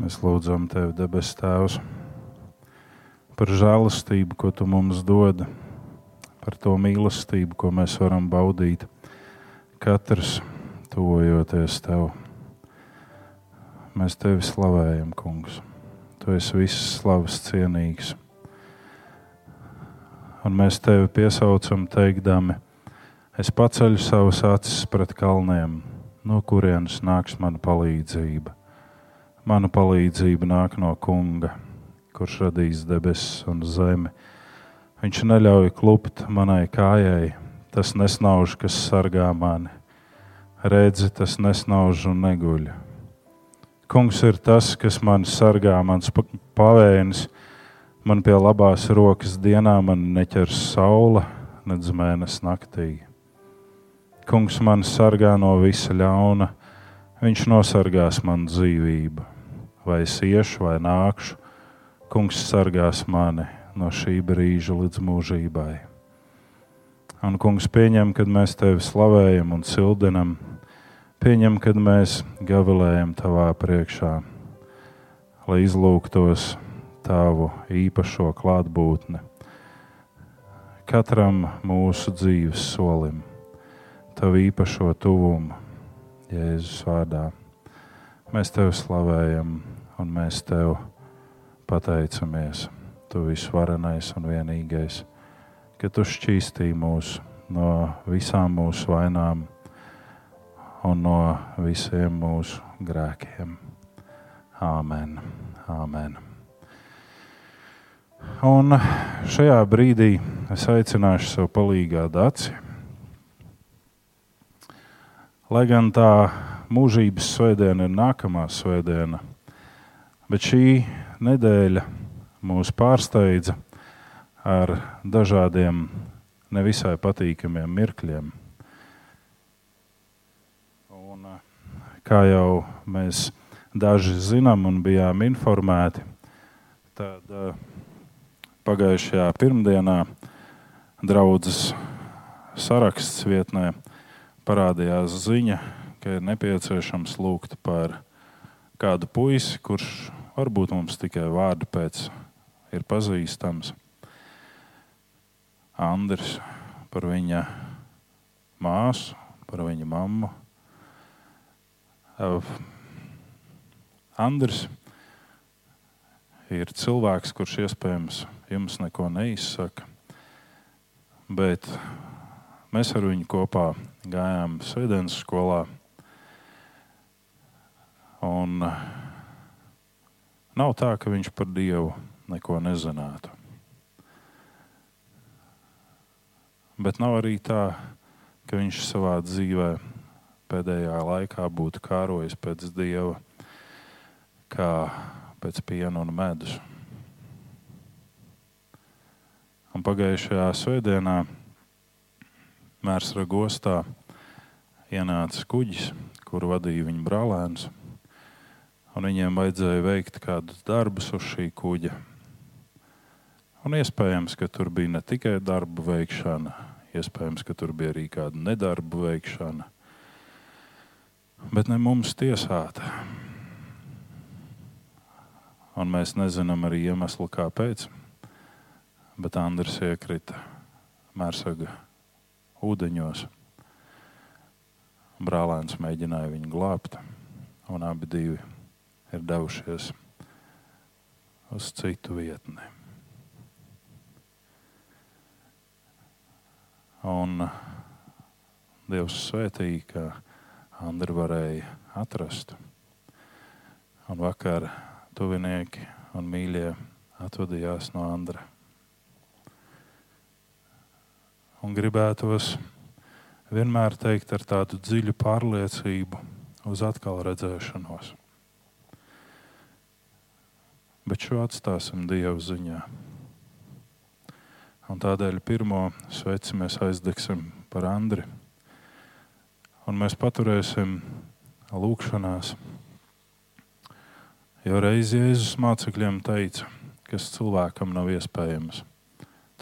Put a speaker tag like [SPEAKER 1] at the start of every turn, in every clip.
[SPEAKER 1] Mēs lūdzam Tevi, debes Tēvs, par žēlastību, ko Tu mums dod, par to mīlestību, ko mēs varam baudīt, katrs tuvojoties Tev. Mēs Tevi slavējam, Kungs. Tu esi visas slavas cienīgs. Un mēs Tevi piesaucam, teikdami, es paceļu savas acis pret kalniem, no kurienes nāks mana palīdzība. Mana palīdzība nāk no Kunga, kurš radīs debesis un zemi. Viņš neļauj klupt manai kājai, tas nesnauž, kas sargā mani. Redzi, tas nesnauž un neguļ. Kungs ir tas, kas man sargā, mans pavēnis, man pie labās rokas dienā man neķers saula, nedz mēnesis naktī. Kungs man sargā no visa ļauna, viņš nosargās man dzīvību. Vai es iešu, vai nākšu, kungs sargās mani no šī brīža līdz mūžībai. Un kungs pieņem, kad mēs tevi slavējam un cildinam, pieņem, kad mēs gavilējam tavā priekšā, lai izlūgtos tavu īpašo klātbūtni. Katram mūsu dzīves solim, tavu īpašo tuvumu, Jēzus vārdā. Mēs tevi slavējam un mēs tev pateicamies. Tu visvarenais un vienīgais, ka tu šķīstīji mūs no visām mūsu vainām un no visiem mūsu grēkiem. Āmen. Āmen. Un šajā brīdī es aicināšu sev palīdzīgā daci. Lai gan tā mūžības svētdiena ir nākamā svētdiena, bet šī nedēļa mūs pārsteidza ar dažādiem nevisai patīkamiem mirkļiem. Un, eh, kā jau mēs daži zinām un bijām informēti, tad uh, pagājušajā pirmdienā draudzes saraksts vietnē parādījās ziņa, ka ir nepieciešams lūgt par kādu puisi, kurš varbūt mums tikai vārdu pēc ir pazīstams. Andris par viņa māsu, par viņa mammu. Andris ir cilvēks, kurš iespējams jums neko neizsaka. Bet mēs ar viņu kopā gājām Svedbēnas skolā. Un nav tā, ka viņš par Dievu neko nezinātu. Bet nav arī tā, ka viņš savā dzīvē pēdējā laikā būtu kārojis pēc Dieva, kā pēc piena un medus. Un pagājušajā svētdienā Mērsra gostā ienāca kuģis, kuru vadīja viņa brālēns. Viņiem vajadzēja veikt kādus darbus uz šī kuģa. Un iespējams, ka tur bija ne tikai darba veikšana, iespējams, ka tur bija arī kāda nedarba veikšana. Bet ne mums tiesāta. Un mēs nezinām arī iemeslu, kāpēc. Bet Andris iekrita Mērsaga ūdeņos. Brālēns mēģināja viņu glābt, un abi divi ir devušies uz citu vietni. Un Dievs svētīja, ka Andriņš varēja atrast. Un vakar tuvinieki un mīļie atvadījās no Andra. Un gribētos vienmēr teikt ar tādu dziļu pārliecību, uz atkal redzēšanos. Bet šo atstāsim Dieva ziņā. Un tādēļ pirmo sveci mēs aizdegsim par Andri. Un mēs paturēsim lūgšanās. Jo reiz Jēzus mācekļiem teica, kas cilvēkam nav iespējams,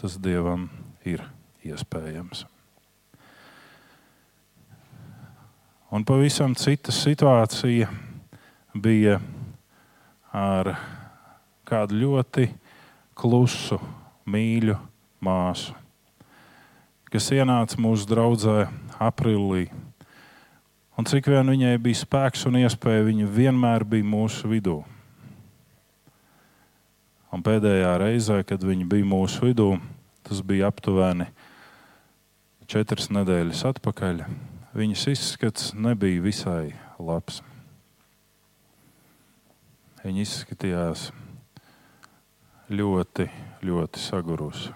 [SPEAKER 1] tas Dievam ir iespējams. Un pavisam cita situācija bija ar kādu ļoti klusu, mīļu māsu, kas ienāca mūsu draudzē aprīlī. Un cik vien viņai bija spēks un iespēja, viņa vienmēr bija mūsu vidū. Un pēdējā reizē, kad viņa bija mūsu vidū, tas bija aptuveni četras nedēļas atpakaļ. Viņas izskats nebija visai labs. Viņa izskatījās ļoti, ļoti sagurusi.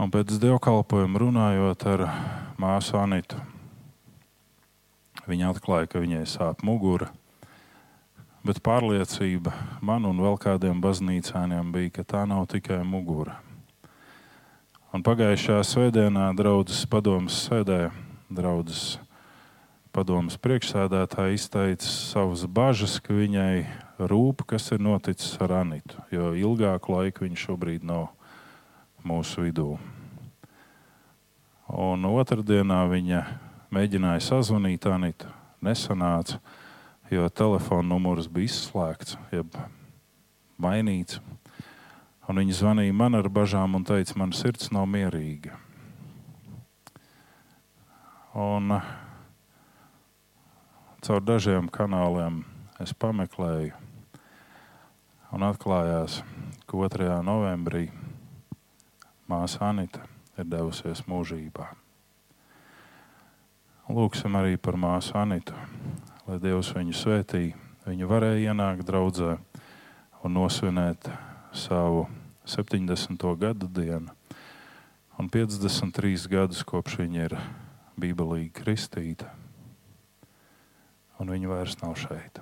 [SPEAKER 1] Un pēc dievkalpojuma runājot ar māsu Anītu, viņa atklāja, ka viņai sāp mugura. Bet pārliecība man un vēl kādiem baznīcāniem bija, ka tā nav tikai mugura. Un pagājušā svētdienā draudzes padomus sēdē, draudzes padomus priekšsēdētāja izteica savas bažas, ka viņai rūp, kas ir noticis ar Anītu, jo ilgāku laiku viņš šobrīd nav mūsu vidū. Un otrdienā viņa mēģināja sazvanīt Anītu, nesanāca, jo telefona numurs bija izslēgts, jeb mainīts. Un viņa zvanīja man ar bažām un teica, man sirds nav mierīga. Un caur dažiem kanāliem es pameklēju, un atklājās, ka 2. novembrī māsa Anita ir devusies mūžībā. Lūksim arī par māsu Anitu, lai Dievs viņu svētī. Viņa varēja ienākt draudzē un nosvinēt savu 70. gada dienu, un 53 gadus kopš viņa ir bībelīgi kristīta, un viņa vairs nav šeit.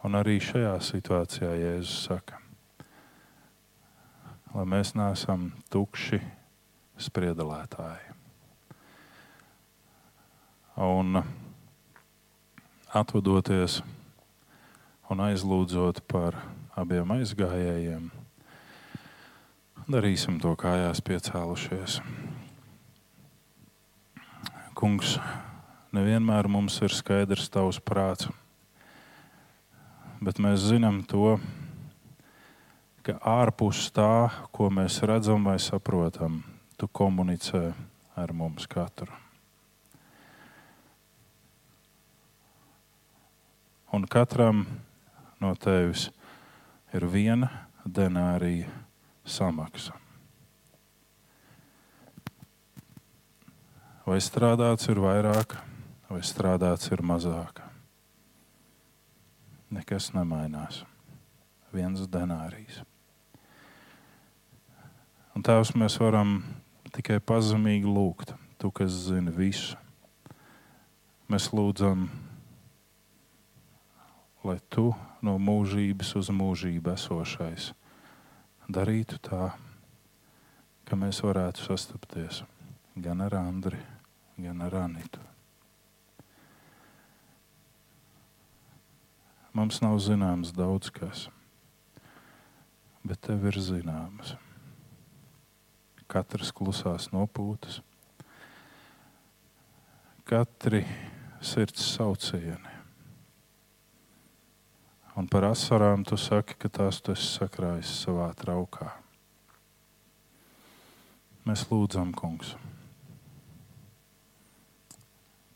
[SPEAKER 1] Un arī šajā situācijā Jēzus saka, lai mēs neesam tukši spriedelētāji. Un atvadoties un aizlūdzot par abiem aizgājējiem, darīsim to kājās piecēlušies. Kungs, nevienmēr mums ir skaidrs tavs prāts, bet mēs zinām to, ka ārpus tā, ko mēs redzam vai saprotam, tu komunicē ar mums katru. un katram no tevis ir viena denārija samaksa. Vai strādāts ir vairāk, vai strādāts ir mazāk? Nekas nemainās. Viens denārijs. Un tās mēs varam tikai pazemīgi lūgt. Tu, kas zini visu, mēs lūdzam lai tu no mūžības uz mūžību esošais darītu tā, ka mēs varētu sastapties gan ar Andri, gan ar Anitu. Mums nav zināms daudz kas, bet tev ir zināms. Katrs klusās nopūtas, katri sirds saucieni. Un par asarām tu saki, ka tās tu esi sakrājis savā traukā. Mēs lūdzam, Kungs,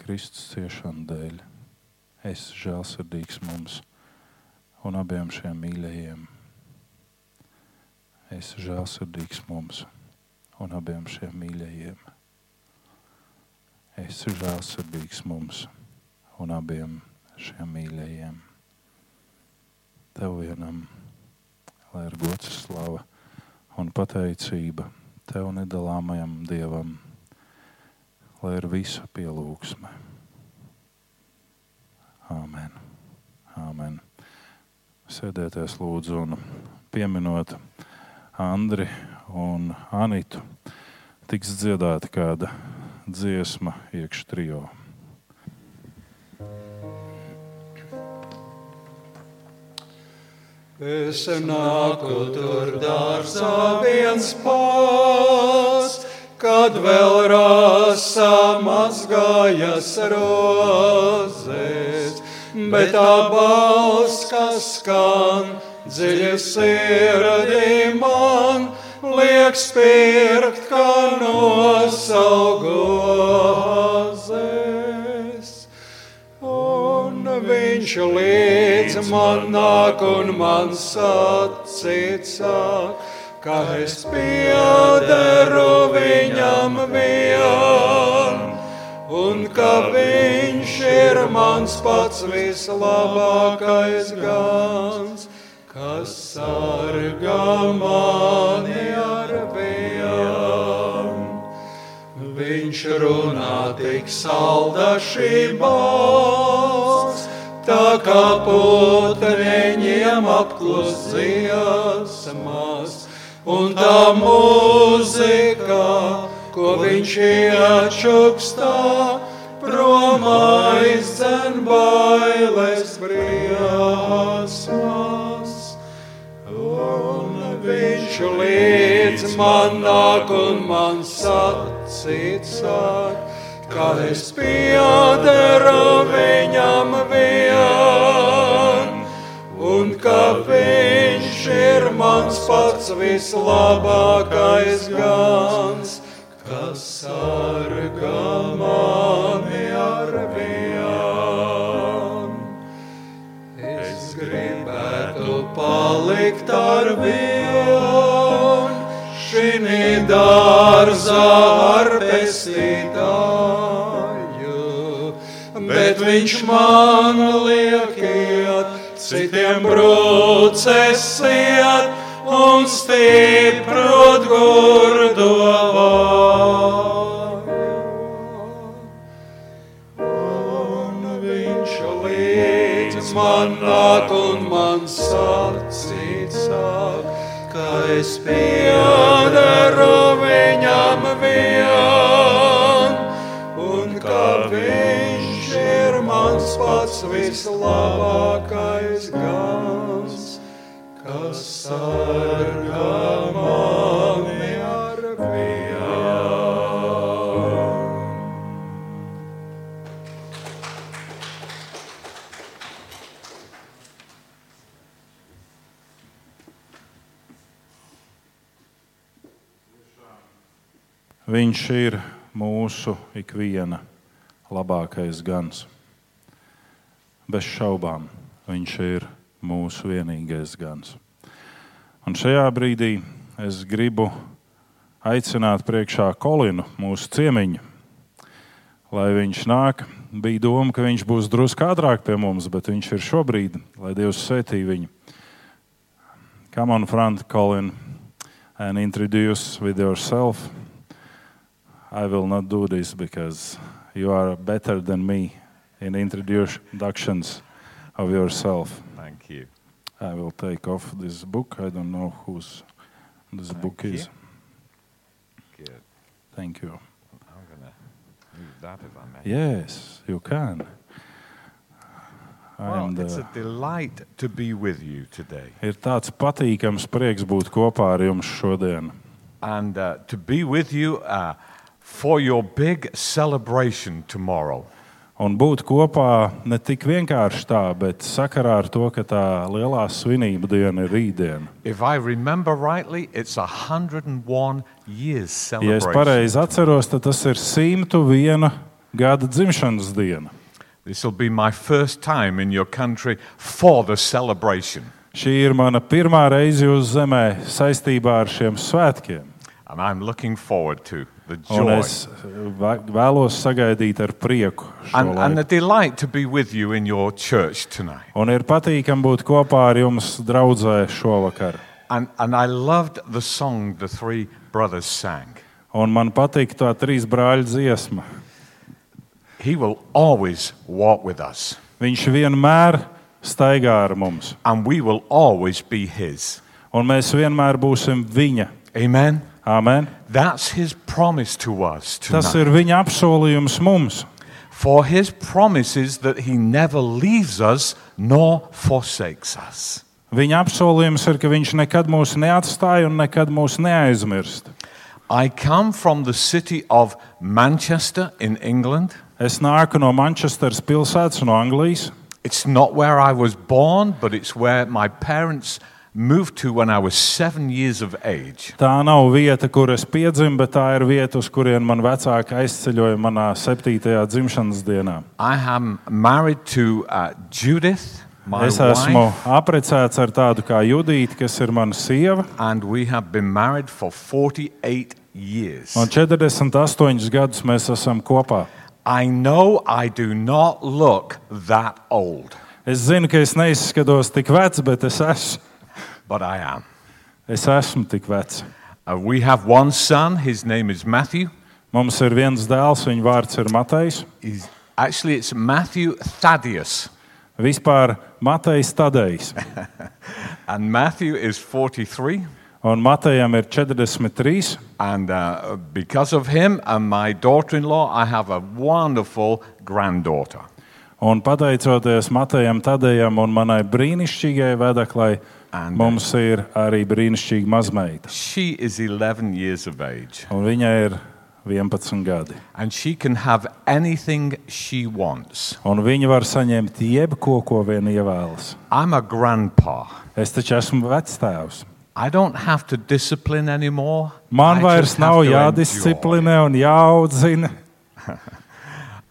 [SPEAKER 1] Kristus ciešanu dēļ, es esmu žēlsirdīgs mums un abiem šiem mīļajiem. Es esmu žēlsirdīgs mums un abiem šiem mīļajiem. Es esmu žēlsirdīgs mums un abiem šiem mīļajiem tev vienam, lai ir gods, slava un pateicība tev nedalāmajam dievam, lai ir visa pielūgsme. Āmen. Āmen. Sēdieties, lūdzu, un pieminot Andri un Anitu, tiks dziedāta kāda dziesma iekšā trijā.
[SPEAKER 2] Es nāku tur dārzā viens pats, kad vēl rasa mazgājas rozes, bet tā balss, kas skan dziļi sirdī man, liekas pirkt, kā nosaugozes. Un viņš līdz man nāk un man sacīca, ka es piederu viņam vienam un ka viņš ir mans pats vislabākais gans, kas sargā mani ar bijām. Viņš runā tik salda šī balss, tā kā putekļiem apklusījās mās, un tā mūzika, ko viņš iečukstā, prom aizdzen bailes briesmās. Un viņš līdz man nāk un man sacīca, ka es piederu viņam vien, un ka viņš ir mans pats vislabākais gans, kas sargā mani ar vien. Es gribētu palikt ar vienu šī dārza ar pestītāju, bet viņš man liek iet, citiem brūcēsiet un stiprot gurdo vāju. Un viņš līdz man nāk un man sacīca, ka es piederu viņam vien, un ka viņš ir mans pats vislabākais gans, kas sargā mani ar vien.
[SPEAKER 1] Viņš ir mūsu ikviena labākais gans. Bez šaubām, viņš ir mūsu vienīgais gans. Un šajā brīdī es gribu aicināt priekšā Kolinu, mūsu ciemiņu, lai viņš nāk. Bija doma, ka viņš būs drusku ātrāk pie mums, bet viņš ir šobrīd, lai Dievs svētī viņu. Come on, front, Colin, and introduce with yourself. I will not do this because you are better than me in introductions of yourself.
[SPEAKER 3] Thank you.
[SPEAKER 1] I will take off this book. I don't know whose this
[SPEAKER 3] Thank
[SPEAKER 1] book is.
[SPEAKER 3] Good.
[SPEAKER 1] Thank you.
[SPEAKER 3] I'm gonna move that if I may.
[SPEAKER 1] Yes, you can.
[SPEAKER 3] Well,
[SPEAKER 1] And,
[SPEAKER 3] it's
[SPEAKER 1] uh,
[SPEAKER 3] a delight to be with you today,
[SPEAKER 1] ir tāds patīkams prieks būt kopā ar jums šodien.
[SPEAKER 3] and uh, to be with you uh, for your big celebration tomorrow.
[SPEAKER 1] Un būt kopā ne tik vienkārši tā, bet sakarā ar to, ka tā lielā svinību diena ir rītdiena.
[SPEAKER 3] If I remember rightly, it's 101
[SPEAKER 1] Ja
[SPEAKER 3] years
[SPEAKER 1] es
[SPEAKER 3] celebration.
[SPEAKER 1] pareizi atceros, tad tas ir 101 gada dzimšanas diena.
[SPEAKER 3] This will be my first time in your country for the celebration,
[SPEAKER 1] Šī ir mana pirmā reize uz Zemē saistībā ar šiem svētkiem.
[SPEAKER 3] and I'm looking forward to the
[SPEAKER 1] Un
[SPEAKER 3] joy
[SPEAKER 1] es eh, vē- vēlos sagaidīt ar prieku. šo
[SPEAKER 3] and, and
[SPEAKER 1] laiku.
[SPEAKER 3] the delight to be with you in your church tonight.
[SPEAKER 1] Un ir patīkami būt kopā ar jums, draugzē, šovakar.
[SPEAKER 3] And, and I loved the song the three brothers sang.
[SPEAKER 1] Un man patīk tā trīs brāļa dziesma.
[SPEAKER 3] He will always walk with us,
[SPEAKER 1] Viņš vienmēr staigā ar mums,
[SPEAKER 3] and we will always be His.
[SPEAKER 1] un mēs vienmēr būsim viņa.
[SPEAKER 3] Amen.
[SPEAKER 1] Amen.
[SPEAKER 3] That's His promise to us tonight.
[SPEAKER 1] Tas ir viņa apsolījums mums.
[SPEAKER 3] For His promise is that He never leaves us nor forsakes us.
[SPEAKER 1] Viņa apsolījums ir, ka viņš nekad mūs neatstāja un nekad mūs neaizmirst.
[SPEAKER 3] I come from the city of Manchester in England.
[SPEAKER 1] Es nāku no Manchesteras pilsētas, no Anglijas.
[SPEAKER 3] It's not where I was born, but it's where my parents moved to when I was seven years of age.
[SPEAKER 1] Tā nav vieta, kur es piedzimu, bet tā ir vieta, uz kurien man vecāki aizceļoja manā septītajā dzimšanas dienā.
[SPEAKER 3] I am married to uh, Judith, my
[SPEAKER 1] Es esmu
[SPEAKER 3] wife,
[SPEAKER 1] apprecēts ar tādu kā Judīti, kas ir mana sieva.
[SPEAKER 3] and we have been married for 48 years.
[SPEAKER 1] Un 48 gadus mēs esam kopā.
[SPEAKER 3] I know I do not look that old,
[SPEAKER 1] Es zinu, ka es neizskatos tik vecs, bet es esmu,
[SPEAKER 3] but I am.
[SPEAKER 1] es esmu tik vecs.
[SPEAKER 3] Uh, we have one son, his name is Matthew.
[SPEAKER 1] Mums ir viens dēls, viņa vārds ir Matejs.
[SPEAKER 3] He's, actually, it's Matthew Thaddeus,
[SPEAKER 1] Vispār Matejs Tadejs.
[SPEAKER 3] and Matthew is 43.
[SPEAKER 1] Un Matejam ir 43.
[SPEAKER 3] And uh, because of him and my daughter in law, I have a wonderful granddaughter.
[SPEAKER 1] Un pateicoties Matejam Tadejam un manai brīnišķīgajai vedaklai,
[SPEAKER 3] Ande.
[SPEAKER 1] mums ir arī brīnišķīga mazmeita.
[SPEAKER 3] She is 11 years of age,
[SPEAKER 1] Un viņai ir 11 gadi.
[SPEAKER 3] and she can have anything she wants.
[SPEAKER 1] Un viņi var saņemt jebko, ko vien ievēlas.
[SPEAKER 3] I'm a grandpa.
[SPEAKER 1] Es taču esmu vecstāvs.
[SPEAKER 3] I don't have to discipline anymore.
[SPEAKER 1] Man
[SPEAKER 3] I
[SPEAKER 1] vairs
[SPEAKER 3] just have
[SPEAKER 1] nav
[SPEAKER 3] to enjoy.
[SPEAKER 1] jādisciplinē un jāaudzina.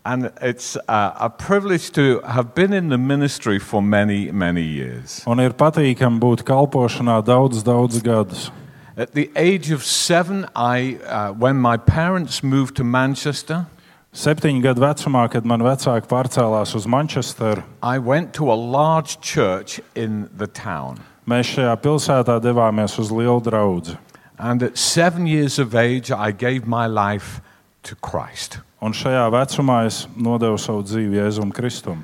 [SPEAKER 3] And it's uh, a privilege to have been in the ministry for many, many years.
[SPEAKER 1] Un ir patīkami būt kalpošanā daudz, daudz gadus.
[SPEAKER 3] At the age of seven, I, uh, when my parents moved to Manchester,
[SPEAKER 1] Septiņu gadu vecumā, kad man vecāki pārcēlās uz Manchesteru,
[SPEAKER 3] I went to a large church in the town.
[SPEAKER 1] mēs šajā pilsētā devāmies uz lielu draugu.
[SPEAKER 3] And at seven years of age, I gave my life to Christ.
[SPEAKER 1] Un šajā vecumā es nodevu savu dzīvi Jēzum Kristum.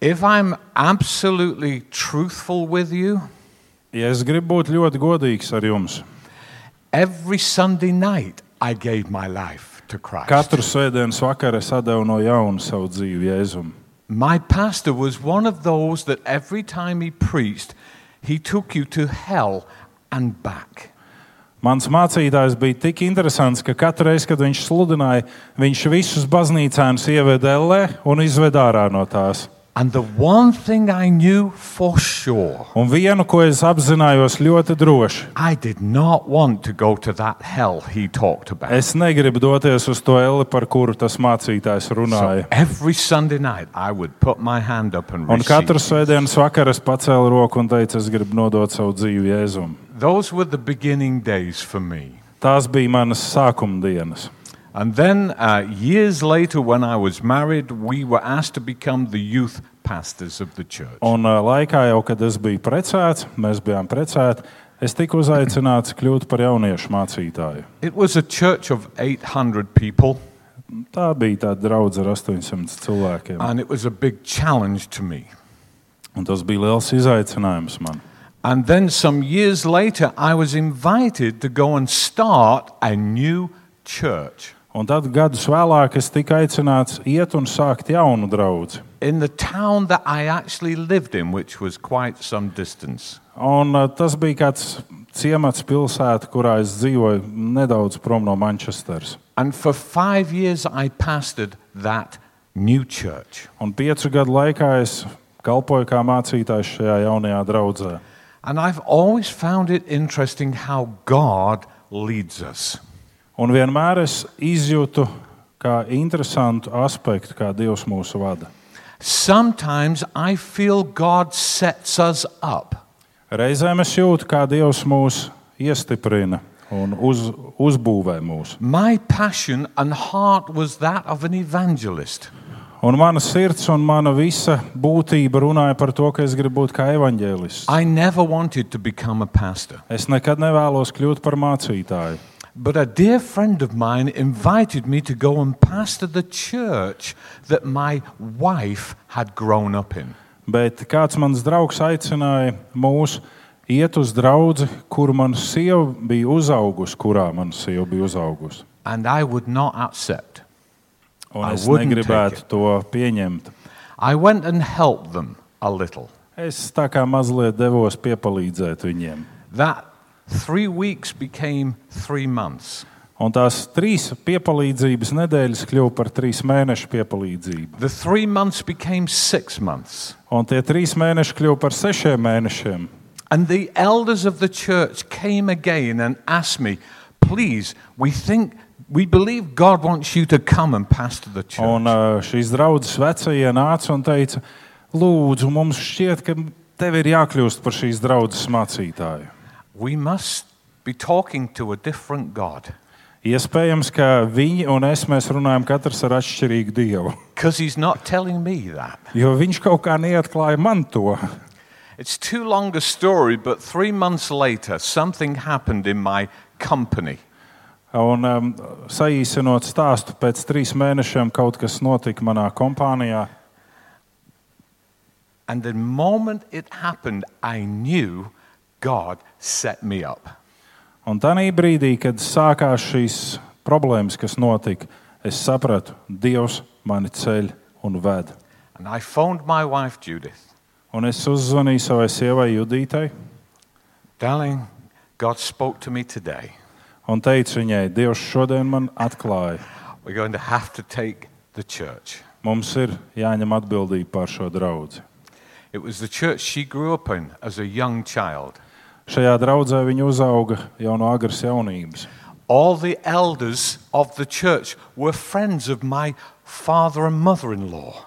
[SPEAKER 3] If I'm absolutely truthful with you,
[SPEAKER 1] Ja es gribu būt ļoti godīgs ar jums,
[SPEAKER 3] every Sunday night, I gave my life to Christ.
[SPEAKER 1] katru svētdienas vakaru es devu no jauna savu dzīvi Jēzum.
[SPEAKER 3] My pastor was one of those that every time he preached, he took you to hell and back.
[SPEAKER 1] Mans mācītājs bija tik interesants, ka katru reizi, kad viņš sludināja, viņš visus baznīcēnus ieveda ellē un izveda ārā no tās.
[SPEAKER 3] And the one thing I knew for sure,
[SPEAKER 1] Un vienu, ko es apzinājos ļoti droši,
[SPEAKER 3] I did not want to go to that hell he talked about.
[SPEAKER 1] es negribu doties uz to elli, par kuru tas mācītājs runāja.
[SPEAKER 3] So every Sunday night, I would put my hand up and
[SPEAKER 1] Un katru
[SPEAKER 3] receive.
[SPEAKER 1] svētdienas vakaru es pacēlu roku un teicu, es gribu nodot savu dzīvi Jēzum.
[SPEAKER 3] Those were the beginning days for me.
[SPEAKER 1] Tās bija manas sākuma dienas.
[SPEAKER 3] And then uh, years later, when I was married, we were asked to become the youth pastors of the church.
[SPEAKER 1] Un ā, laikā, jau, kad es biju precēts, mēs bijām precēti, es tiku uzaicināts kļūt par jauniešu mācītāju.
[SPEAKER 3] It was a church of 800 people,
[SPEAKER 1] Tā bija tāda draudzene ar 800 cilvēkiem.
[SPEAKER 3] and it was a big challenge to me.
[SPEAKER 1] Un tas bija liels izaicinājums man.
[SPEAKER 3] And then some years later, I was invited to go and start a new church
[SPEAKER 1] Un tad gadus vēlāk es tiku aicināts iet un sākt jaunu draugu.
[SPEAKER 3] in the town that I actually lived in, which was quite some distance.
[SPEAKER 1] Un ā, tas bija kāds ciemats pilsēta, kurā es dzīvoju nedaudz prom no Manchesteras.
[SPEAKER 3] And for five years, I pastored that new church.
[SPEAKER 1] Un piecu gadu laikā es kalpoju kā mācītājs šajā jaunajā draudzē.
[SPEAKER 3] And I've always found it interesting how God leads us.
[SPEAKER 1] Un vienmēr es izjūtu kā interesantu aspektu, kā Dievs mūsu vada.
[SPEAKER 3] Sometimes I feel God sets us up.
[SPEAKER 1] Reizēm es jūtu, kā Dievs mūs iestiprina un uz, uzbūvē mūs.
[SPEAKER 3] My passion and heart was that of an evangelist.
[SPEAKER 1] Un mana sirds un mana visa būtība runāja par to, ka es gribu būt kā evaņģēlists.
[SPEAKER 3] I never wanted to become a pastor,
[SPEAKER 1] Es nekad nevēlos kļūt par mācītāju.
[SPEAKER 3] but a dear friend of mine invited me to go and pastor the church that my wife had grown up in.
[SPEAKER 1] Bet kāds mans draugs aicināja mūs iet uz draugu, kur mana sieva bija uzaugusi, kurā mana sieva bija uzaugusi.
[SPEAKER 3] And I would not accept.
[SPEAKER 1] Un
[SPEAKER 3] I
[SPEAKER 1] es
[SPEAKER 3] wouldn't take
[SPEAKER 1] negribētu to pieņemt.
[SPEAKER 3] I went and helped them a little.
[SPEAKER 1] Es tā kā mazliet devos piepalīdzēt viņiem.
[SPEAKER 3] That three weeks became three months.
[SPEAKER 1] Un tās trīs piepalīdzības nedēļas kļuva par trīs mēnešu piepalīdzību.
[SPEAKER 3] The three months became six months.
[SPEAKER 1] Un tie trīs mēneši kļuva par sešiem mēnešiem.
[SPEAKER 3] And the elders of the church came again and asked me, please, we think, we believe God wants you to come and pastor the church.
[SPEAKER 1] Un ā, šīs draudzes vecie nāca un teica, lūdzu, mums šķiet, ka tev ir jākļūst par šīs draudzes mācītāju.
[SPEAKER 3] We must be talking to a different God
[SPEAKER 1] Iespējams, ka viņi un es mēs runājam katrs ar atšķirīgu dievu.
[SPEAKER 3] because he's not telling me that.
[SPEAKER 1] Jo viņš kaut kā neatklāja man to.
[SPEAKER 3] It's too long a story, but three months later, something happened in my company.
[SPEAKER 1] Un, um, saīsinot stāstu, pēc trīs mēnešiem kaut kas notika manā kompānijā.
[SPEAKER 3] And the moment it happened, I knew God set me up.
[SPEAKER 1] Un tajā brīdī, kad sākās šīs problēmas, kas notika, es sapratu, Dievs mani ceļ un ved.
[SPEAKER 3] And I phoned my wife, Judith.
[SPEAKER 1] Un es uzzvanīju savai sievai Judītai
[SPEAKER 3] Darling, God spoke to me today.
[SPEAKER 1] un teicu viņai, Dievs šodien man atklāja.
[SPEAKER 3] We're going to have to take the church.
[SPEAKER 1] Mums ir jāņem atbildība par šo draugu.
[SPEAKER 3] It was the church she grew up in as a young child.
[SPEAKER 1] Šajā draudzē viņa uzauga jau no agras jaunības.
[SPEAKER 3] All the elders of the church were friends of my father and mother in law.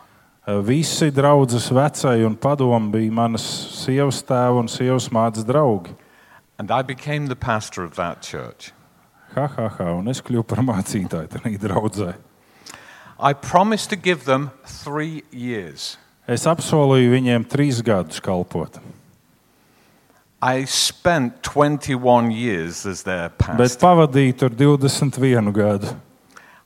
[SPEAKER 1] Visi draugas vecēji un padomi bija manas sievas tēva un sievas mātes draugi.
[SPEAKER 3] And I became the pastor of that church.
[SPEAKER 1] Ha, ha, ha, un es kļuvu par mācītāju tajā draudzē.
[SPEAKER 3] I promised to give them three years.
[SPEAKER 1] Es apsolīju viņiem trīs gadus kalpot,
[SPEAKER 3] I spent 21 years as their
[SPEAKER 1] bet
[SPEAKER 3] pastor.
[SPEAKER 1] pavadīju tur 21 gadu.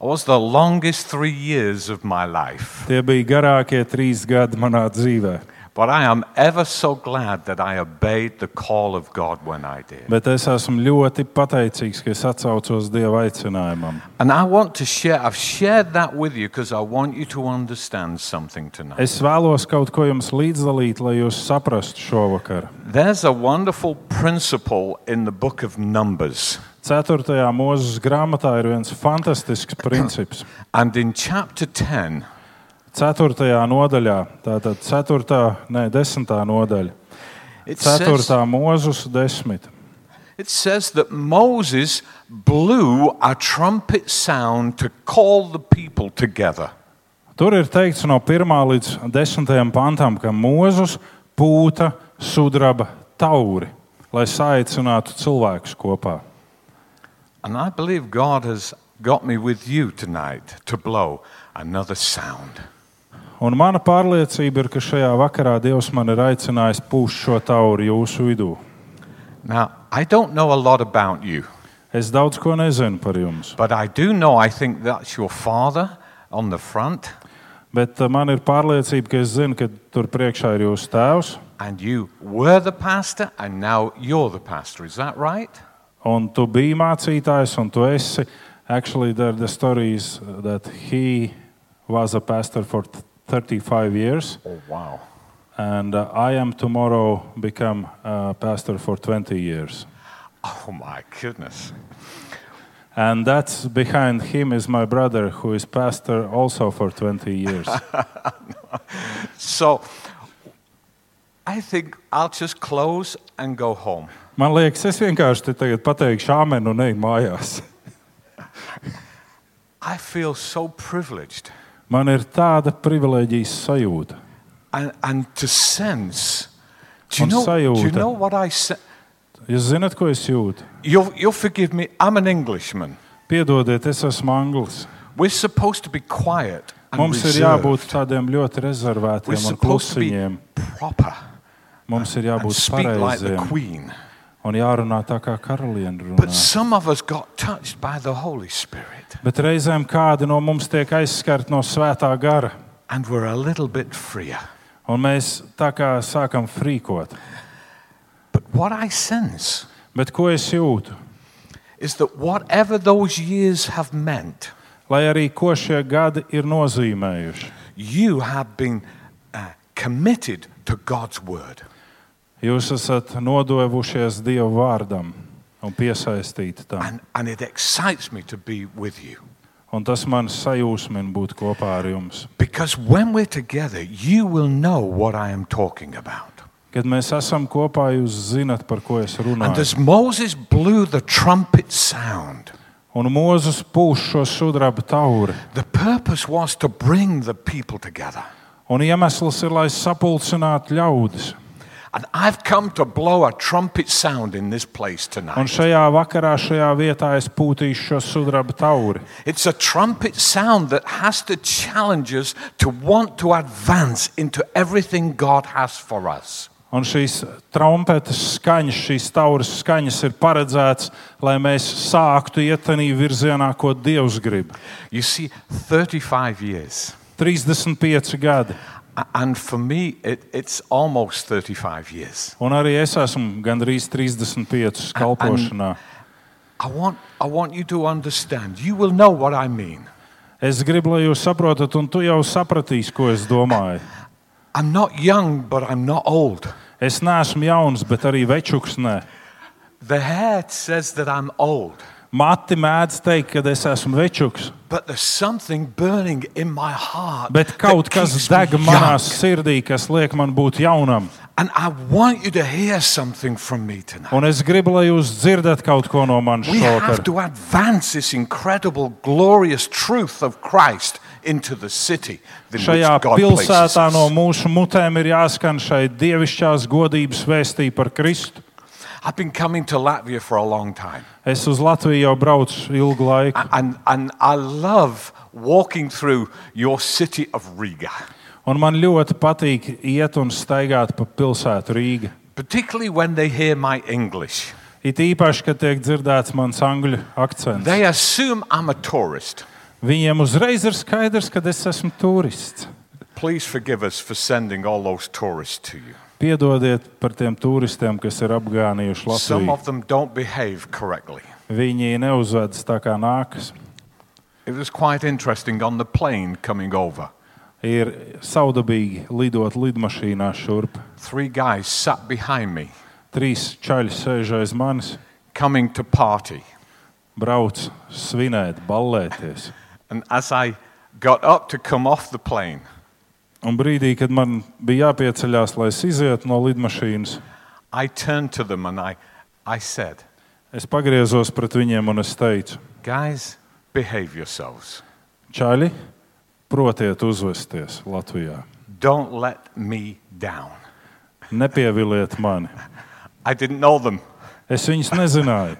[SPEAKER 3] It was the longest three years of my life.
[SPEAKER 1] Tie bija garākie trīs gadi manā dzīvēm.
[SPEAKER 3] But I am ever so glad that I obeyed the call of God when I did.
[SPEAKER 1] Bet es esmu ļoti pateicīgs, ka es atsaucos Dieva aicinājumam.
[SPEAKER 3] And I want to share, I've shared that with you because I want you to understand something tonight.
[SPEAKER 1] Es vēlos kaut ko jums līdzdalīt, lai jūs saprastu šovakar.
[SPEAKER 3] There's a wonderful principle in the book of Numbers.
[SPEAKER 1] Ceturtajā mūža grāmatā ir viens fantastisks princips.
[SPEAKER 3] And in chapter 10,
[SPEAKER 1] Ceturtajā nodaļā, tātad ceturtā, ne desmitā nodaļa,
[SPEAKER 3] it says,
[SPEAKER 1] ceturtā mūža desmit.
[SPEAKER 3] it says that Moses blew a trumpet sound to call the people together.
[SPEAKER 1] Tur ir teikts no 1 līdz 10 pantam, ka mūžs pūta sudraba tauri, lai saicinātu cilvēkus kopā.
[SPEAKER 3] And I believe God has got me with you tonight to blow another sound.
[SPEAKER 1] Un mana pārliecība ir, ka šajā vakarā Dievs man ir aicinājis pūst šo tauri jūsu vidū.
[SPEAKER 3] Now, I don't know a lot about you,
[SPEAKER 1] Es daudz ko nezinu par jums,
[SPEAKER 3] but I do know I think that's your father on the front
[SPEAKER 1] bet eh, man ir pārliecība, ka es zinu, ka tur priekšā ir jūsu tēvs.
[SPEAKER 3] and you were the pastor and now you're the pastor. Is that right?
[SPEAKER 1] Un tu biji mācītājs, un tu esi. Actually, there are the stories that he was a pastor for th- 35 years,
[SPEAKER 3] Oh, wow.
[SPEAKER 1] and uh, I am tomorrow become a pastor for 20 years.
[SPEAKER 3] Oh, my goodness.
[SPEAKER 1] And that's behind him is my brother, who is pastor also for 20 years.
[SPEAKER 3] So I think I'll just close and go home.
[SPEAKER 1] Man liekas, es vienkārši te tagad pateikšu āmenu un eju mājās.
[SPEAKER 3] I feel so privileged
[SPEAKER 1] Man ir tāda privilēģijas sajūta.
[SPEAKER 3] and, and to sense. Do you,
[SPEAKER 1] On
[SPEAKER 3] know, do you
[SPEAKER 1] sajūta.
[SPEAKER 3] know what I sense?
[SPEAKER 1] Jūs zināt, ko es jūtu?
[SPEAKER 3] You'll, you'll forgive me, I'm an Englishman.
[SPEAKER 1] Piedodiet, es esmu anglis.
[SPEAKER 3] We're supposed to be quiet and
[SPEAKER 1] Mums ir
[SPEAKER 3] reserved.
[SPEAKER 1] jābūt tādiem ļoti
[SPEAKER 3] We're
[SPEAKER 1] rezervētiem un
[SPEAKER 3] supposed to be
[SPEAKER 1] klusiņiem.
[SPEAKER 3] proper
[SPEAKER 1] Mums ir
[SPEAKER 3] and
[SPEAKER 1] jābūt
[SPEAKER 3] speak like the
[SPEAKER 1] pareiziem
[SPEAKER 3] Queen.
[SPEAKER 1] un uh, jārunā tā, kā karaliene
[SPEAKER 3] But
[SPEAKER 1] runā.
[SPEAKER 3] some of us got touched by the Holy Spirit
[SPEAKER 1] Bet reizēm kādi no mums tiek aizskarti no svētā gara,
[SPEAKER 3] and we're a little bit freer.
[SPEAKER 1] un mēs tā kā sākam frīkot.
[SPEAKER 3] But what I sense
[SPEAKER 1] Bet ko es jūtu?
[SPEAKER 3] is that whatever those years have meant,
[SPEAKER 1] Lai arī ko šie gadi ir nozīmējuši,
[SPEAKER 3] you have been uh, committed to God's word.
[SPEAKER 1] jūs esat nodevušies Dieva vārdam. un piesaistīti tam.
[SPEAKER 3] And, and it excites me to be with you.
[SPEAKER 1] Un tas man sajūsmina būt kopā ar jums.
[SPEAKER 3] Because when we're together, you will know what I am talking about.
[SPEAKER 1] Kad mēs esam kopā, jūs zinat, par ko es
[SPEAKER 3] And
[SPEAKER 1] runāju.
[SPEAKER 3] as Moses blew the trumpet sound,
[SPEAKER 1] Un Mozus pūš šo sudraba tauri.
[SPEAKER 3] the purpose was to bring the people together.
[SPEAKER 1] Un iemesls ir, lai sapulcinātu ļaudis.
[SPEAKER 3] And I've come to blow a trumpet sound in this place
[SPEAKER 1] Un
[SPEAKER 3] tonight.
[SPEAKER 1] šajā vakarā, šajā vietā es pūtīšu šo sudraba tauri.
[SPEAKER 3] It's a trumpet sound that has to challenge us to want to advance into everything God has for us.
[SPEAKER 1] Un šīs trompetes skaņas, šīs tauras skaņas ir paredzētas, lai mēs sāktu ietenī virzienā, ko Dievs grib.
[SPEAKER 3] You see, 35 years.
[SPEAKER 1] 35 gadi,
[SPEAKER 3] A- And for me, it, it's almost 35 years.
[SPEAKER 1] un arī es esmu gandrīz 35 kalpošanā.
[SPEAKER 3] I want, I want you to understand. You will know what I mean.
[SPEAKER 1] Es gribu, lai jūs saprotat, un tu jau sapratīsi, ko es domāju.
[SPEAKER 3] I'm not young, but I'm not old.
[SPEAKER 1] Es neesmu jauns, bet arī večuks. Nē.
[SPEAKER 3] The hair says that I'm old,
[SPEAKER 1] Mati mēdz teikt, ka es esmu večuks,
[SPEAKER 3] but there's something burning in my heart.
[SPEAKER 1] bet kaut
[SPEAKER 3] that
[SPEAKER 1] kas
[SPEAKER 3] keeps
[SPEAKER 1] deg
[SPEAKER 3] me
[SPEAKER 1] manā
[SPEAKER 3] young.
[SPEAKER 1] sirdī, kas liek man būt jaunam.
[SPEAKER 3] And I want you to hear something from me tonight.
[SPEAKER 1] Un es gribu, lai jūs dzirdat kaut ko no manis
[SPEAKER 3] We
[SPEAKER 1] šovakar.
[SPEAKER 3] have to advance this incredible, glorious truth of Christ into the city in which
[SPEAKER 1] Šajā
[SPEAKER 3] God places
[SPEAKER 1] pilsētā
[SPEAKER 3] us.
[SPEAKER 1] no mūsu mutēm ir jāskan šai dievišķās godības vēstī par Kristu.
[SPEAKER 3] I've been coming to Latvia for a long time,
[SPEAKER 1] Es uz Latviju jau braucu ilgu laiku,
[SPEAKER 3] a- and, and I love walking through your city of Riga,
[SPEAKER 1] un man ļoti patīk iet un staigāt pa pilsētu Rīgā.
[SPEAKER 3] particularly when they hear my English.
[SPEAKER 1] It īpaši, kad tiek dzirdēts mans angļu akcents.
[SPEAKER 3] They assume I'm a tourist.
[SPEAKER 1] Viņiem uzreiz ir skaidrs, ka es esmu turists.
[SPEAKER 3] Please forgive us for sending all those tourists to you.
[SPEAKER 1] Piedodiet par tiem turistiem, kas ir apgānījuši
[SPEAKER 3] Some
[SPEAKER 1] Latviju.
[SPEAKER 3] of them don't behave correctly.
[SPEAKER 1] Viņi neuzvedas tā kā nākas.
[SPEAKER 3] It was quite interesting on the plane coming over.
[SPEAKER 1] Ir saudabīgi lidot lidmašīnā šurp.
[SPEAKER 3] Three guys sat behind me
[SPEAKER 1] Trīs čaļi sēž aiz manis,
[SPEAKER 3] coming to party.
[SPEAKER 1] brauc, svinēt, ballēties.
[SPEAKER 3] And as I got up to come off the plane,
[SPEAKER 1] Un brīdī, kad man bija jāpieceļās, lai es izietu no lidmašīnas,
[SPEAKER 3] I turned to them and I, I said,
[SPEAKER 1] es pagriezos pret viņiem un es teicu,
[SPEAKER 3] Guys, behave yourselves.
[SPEAKER 1] čaļi, protiet uzvesties Latvijā.
[SPEAKER 3] Don't let me down.
[SPEAKER 1] Nepievilliet mani.
[SPEAKER 3] I didn't know them,
[SPEAKER 1] Es viņus nezināju,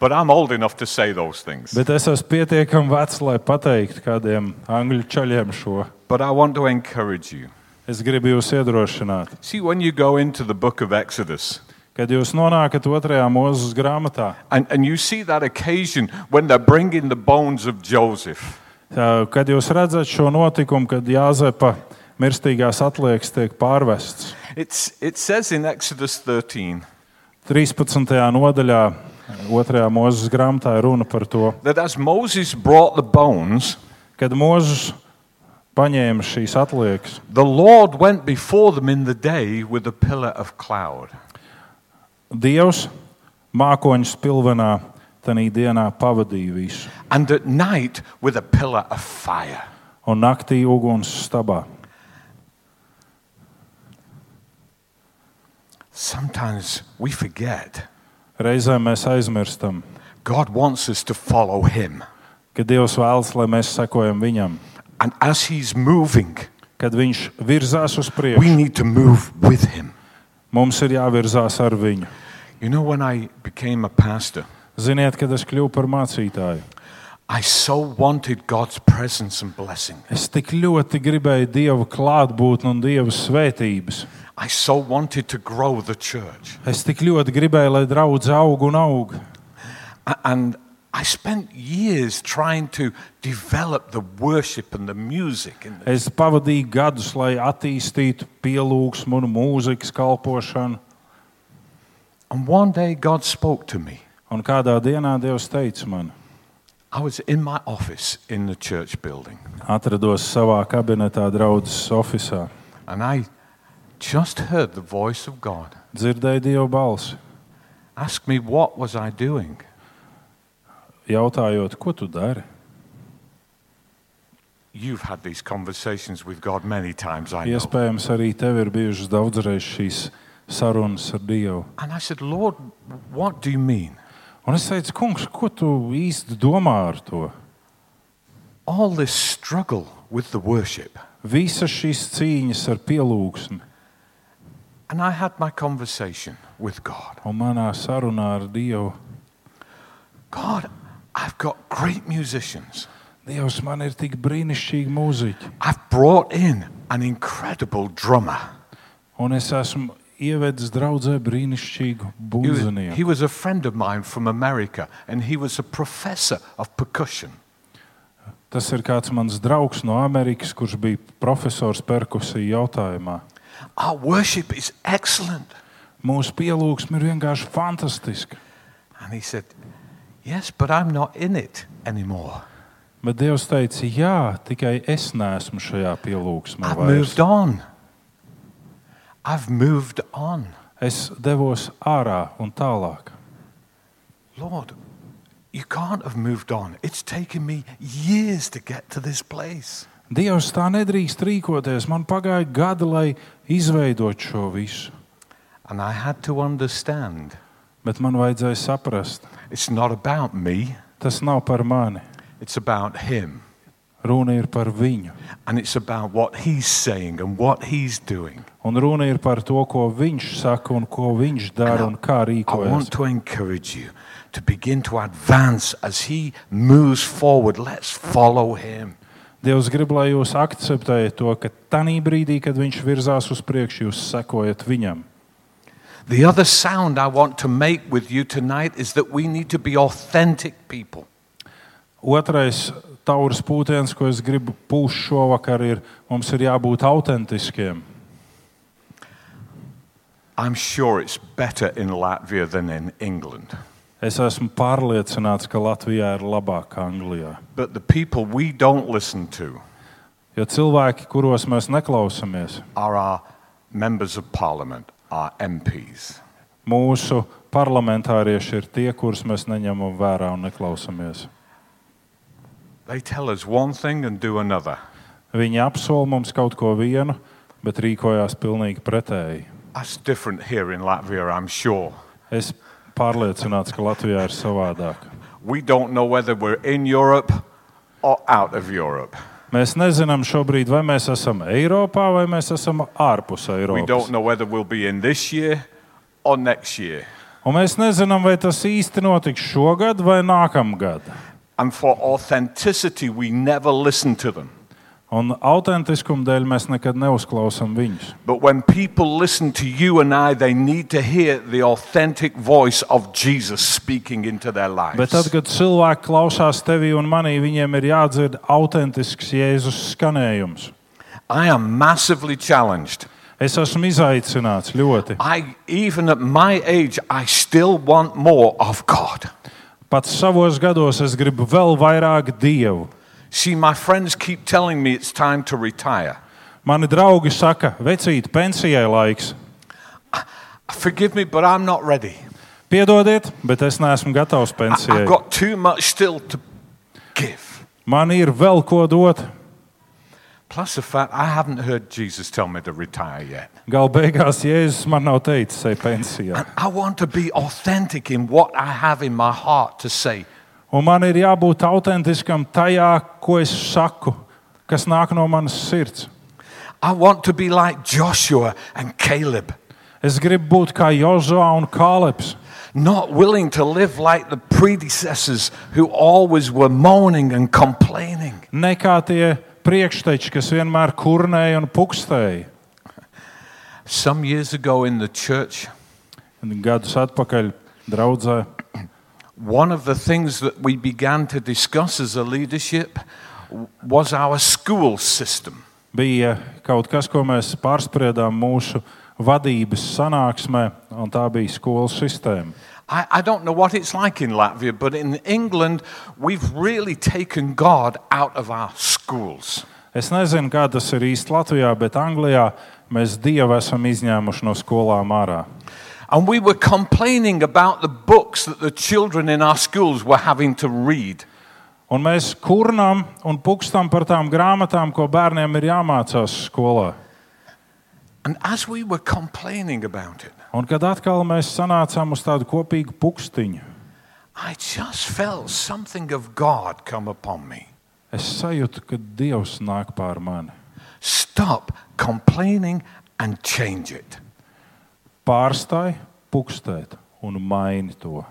[SPEAKER 3] but I'm old enough to say those things.
[SPEAKER 1] bet es esmu pietiekami vecs, lai pateiktu kādiem angļu čaļiem šo.
[SPEAKER 3] But I want to encourage you.
[SPEAKER 1] Es gribu jūs iedrošināt,
[SPEAKER 3] See, when you go into the book of Exodus,
[SPEAKER 1] kad jūs nonākat otrajā mūzes grāmatā,
[SPEAKER 3] and, and you see that occasion when they're bringing the bones of Joseph,
[SPEAKER 1] Tā, Kad jūs redzat šo notikumu, kad Jāzepa mirstīgās atliekas tiek pārvests,
[SPEAKER 3] it's, it says in Exodus 13
[SPEAKER 1] 13. nodaļā, 2. mūža grāmatā ir runa par to,
[SPEAKER 3] that as Moses brought the bones,
[SPEAKER 1] kad Mozus paņēma šīs atliekas.
[SPEAKER 3] the Lord went before them in the day with a pillar of cloud.
[SPEAKER 1] Dievs mākoņu spilvenā tajā dienā pavadīja visu,
[SPEAKER 3] and at night with a pillar of fire.
[SPEAKER 1] un naktī uguns stabā.
[SPEAKER 3] Sometimes we forget
[SPEAKER 1] Reizēm mēs aizmirstam,
[SPEAKER 3] God wants us to follow Him.
[SPEAKER 1] ka Dievs vēlas, lai mēs sekojam Viņam.
[SPEAKER 3] And as He's moving,
[SPEAKER 1] Kad Viņš virzās uz
[SPEAKER 3] we
[SPEAKER 1] priekšu,
[SPEAKER 3] need to move with Him.
[SPEAKER 1] mums ir jāvirzās ar Viņu.
[SPEAKER 3] You know, when I became a pastor,
[SPEAKER 1] Ziniet, kad es kļuvu par mācītāju,
[SPEAKER 3] I so wanted God's presence and blessing.
[SPEAKER 1] es tik ļoti gribēju Dieva klātbūtni un Dieva svētības.
[SPEAKER 3] I so wanted to grow the church.
[SPEAKER 1] Es tik ļoti gribēju, lai draugs aug un aug.
[SPEAKER 3] A- And I spent years trying to develop the worship and the music. And
[SPEAKER 1] Es pavadīju gadus, lai attīstītu pielūgsmu un mūzikas kalpošanu.
[SPEAKER 3] and one day God spoke to me.
[SPEAKER 1] Un kādā dienā Dievs teica man,
[SPEAKER 3] I was in my office in the church building.
[SPEAKER 1] atrados savā kabinetā, draugs ofisā,
[SPEAKER 3] And I just heard the voice of God.
[SPEAKER 1] dzirdēju Dieva balsi.
[SPEAKER 3] Ask me what was I doing?
[SPEAKER 1] Jautājot, ko tu dari?
[SPEAKER 3] You've had these conversations with God many times, I know.
[SPEAKER 1] Iespējams, arī tev ir bijušas daudzreiz šīs sarunas ar Dievu.
[SPEAKER 3] And I said, Lord, what do you mean?
[SPEAKER 1] Un es teicu, kungs, ko tu īsti domā ar to?
[SPEAKER 3] All this struggle with the worship.
[SPEAKER 1] Visas šīs cīņas ar pielūgsmi
[SPEAKER 3] And I had my conversation with God.
[SPEAKER 1] un manā sarunā ar Dievu.
[SPEAKER 3] God, I've got great musicians.
[SPEAKER 1] Dievs, man ir tik brīnišķīgi mūziķi,
[SPEAKER 3] I've brought in an incredible drummer.
[SPEAKER 1] un es esmu ievedis draudzē brīnišķīgu
[SPEAKER 3] He was, he
[SPEAKER 1] būvnieku.
[SPEAKER 3] was a friend of mine from America, and he was a professor of percussion.
[SPEAKER 1] Tas ir kāds mans draugs no Amerikas, kurš bija profesors perkusija jautājumā.
[SPEAKER 3] Our worship is excellent.
[SPEAKER 1] Mūsu pielūgsme ir vienkārši fantastiska.
[SPEAKER 3] And he said, Yes, but I'm not in it anymore.
[SPEAKER 1] Bet Dievs teica, jā, tikai es neesmu šajā pielūgsmē.
[SPEAKER 3] I've
[SPEAKER 1] vairs.
[SPEAKER 3] moved on. I've moved on.
[SPEAKER 1] Es devos ārā un tālāk.
[SPEAKER 3] Lord, you can't have moved on. It's taken me years to get to this place.
[SPEAKER 1] Dievs tā nedrīkst rīkoties. Man pagāja gadi, lai izveidotu šo visu.
[SPEAKER 3] And I had to understand
[SPEAKER 1] Bet man vajadzēja saprast,
[SPEAKER 3] it's not about me,
[SPEAKER 1] tas nav par mani.
[SPEAKER 3] it's about Him.
[SPEAKER 1] Runa ir par viņu.
[SPEAKER 3] And it's about what He's saying and what He's doing.
[SPEAKER 1] Un runa ir par to, ko viņš saka un ko viņš dara un kā
[SPEAKER 3] I
[SPEAKER 1] rīkojas.
[SPEAKER 3] want to encourage you to begin to advance as He moves forward. Let's follow Him.
[SPEAKER 1] Dievs grib, lai jūs akceptējat to, ka tajā brīdī, kad viņš virzās uz priekšu, jūs sekojat viņam.
[SPEAKER 3] The other sound I want to make with you tonight is that we need to be authentic people.
[SPEAKER 1] Otrais tauras pūtiens, ko es gribu pūst šovakar, ir mums ir jābūt autentiskiem.
[SPEAKER 3] I'm sure it's better in Latvia than in England.
[SPEAKER 1] Es esmu pārliecināts, ka Latvijā ir labāk kā Anglijā.
[SPEAKER 3] But the people we don't listen to
[SPEAKER 1] Jo cilvēki, kuros mēs neklausāmies,
[SPEAKER 3] are our members of parliament, our MPs.
[SPEAKER 1] mūsu parlamentārieši ir tie, kurus mēs neņemam vērā un neklausāmies.
[SPEAKER 3] They tell us one thing and do another.
[SPEAKER 1] Viņi apsol mums kaut ko vienu, bet rīkojās pilnīgi pretēji.
[SPEAKER 3] That's different here in Latvia, I'm sure.
[SPEAKER 1] Es pārliecināts, ka Latvijā ir savādāk.
[SPEAKER 3] We don't know whether we're in Europe or out of Europe.
[SPEAKER 1] Mēs nezinām šobrīd, vai mēs esam Eiropā vai mēs esam ārpus
[SPEAKER 3] We don't
[SPEAKER 1] Eiropas.
[SPEAKER 3] know whether we'll be in this year or next year.
[SPEAKER 1] Un mēs nezinām, vai tas īsti notiks šogad vai nākamgad.
[SPEAKER 3] And for authenticity, we never listen to them.
[SPEAKER 1] Un autentiskuma dēļ mēs nekad neuzklausām viņus.
[SPEAKER 3] But when people listen to you and I, they need to hear the authentic voice of Jesus speaking into their lives.
[SPEAKER 1] Bet tad, kad cilvēki klausās tevī un manī, viņiem ir jādzird autentisks Jēzus skanējums.
[SPEAKER 3] I am massively challenged.
[SPEAKER 1] Es esmu izaicināts ļoti.
[SPEAKER 3] I, even at my age, I still want more of God.
[SPEAKER 1] Pat savos gados es gribu vēl vairāk dievu.
[SPEAKER 3] See, my friends keep telling me it's time to retire.
[SPEAKER 1] Mani draugi saka, vecīt, pensijai laiks.
[SPEAKER 3] Forgive me, but I'm not ready.
[SPEAKER 1] Piedodiet, bet es neesmu gatavs
[SPEAKER 3] I, I've
[SPEAKER 1] pensijai.
[SPEAKER 3] got too much still to give.
[SPEAKER 1] Man ir vēl ko dot.
[SPEAKER 3] Plus the fact I haven't heard Jesus tell me to retire yet.
[SPEAKER 1] Galu beigās Jēzus man nav teicis, ej pensijā.
[SPEAKER 3] I want to be authentic in what I have in my heart to say.
[SPEAKER 1] Un man ir jābūt autentiskam tajā, ko es saku, kas nāk no manas sirds.
[SPEAKER 3] I want to be like Joshua and Caleb,
[SPEAKER 1] Es gribu būt kā Jozua un Kāleps.
[SPEAKER 3] not willing to live like the predecessors who always were moaning and complaining.
[SPEAKER 1] Ne kā tie priekšteči, kas vienmēr kurnēja un pukstēja.
[SPEAKER 3] Some years ago in the church,
[SPEAKER 1] Un Gadus atpakaļ draudzē.
[SPEAKER 3] one of the things that we began to discuss as a leadership w- was our school system.
[SPEAKER 1] Bija kaut kas, ko mēs pārspriedām mūsu vadības sanāksmē, un tā bija skolas sistēma.
[SPEAKER 3] I, I don't know what it's like in Latvia, but in England, we've really taken God out of our schools.
[SPEAKER 1] Es nezinu, kā tas ir īsti Latvijā, bet Anglijā mēs dievu esam izņēmuši no skolām ārā.
[SPEAKER 3] And we were complaining about the books that the children in our schools were having to read.
[SPEAKER 1] Un mēs kurnām un pukstām par tām grāmatām, ko bērniem ir jāmācās skolā.
[SPEAKER 3] And as we were complaining about it,
[SPEAKER 1] Un kad atkal mēs sanācām uz tādu kopīgu pukstiņu,
[SPEAKER 3] I just felt something of God come upon me.
[SPEAKER 1] es sajūtu, ka Dievs nāk pār mani.
[SPEAKER 3] Stop complaining and change it.
[SPEAKER 1] Pārstāj, pukstēt un maini to.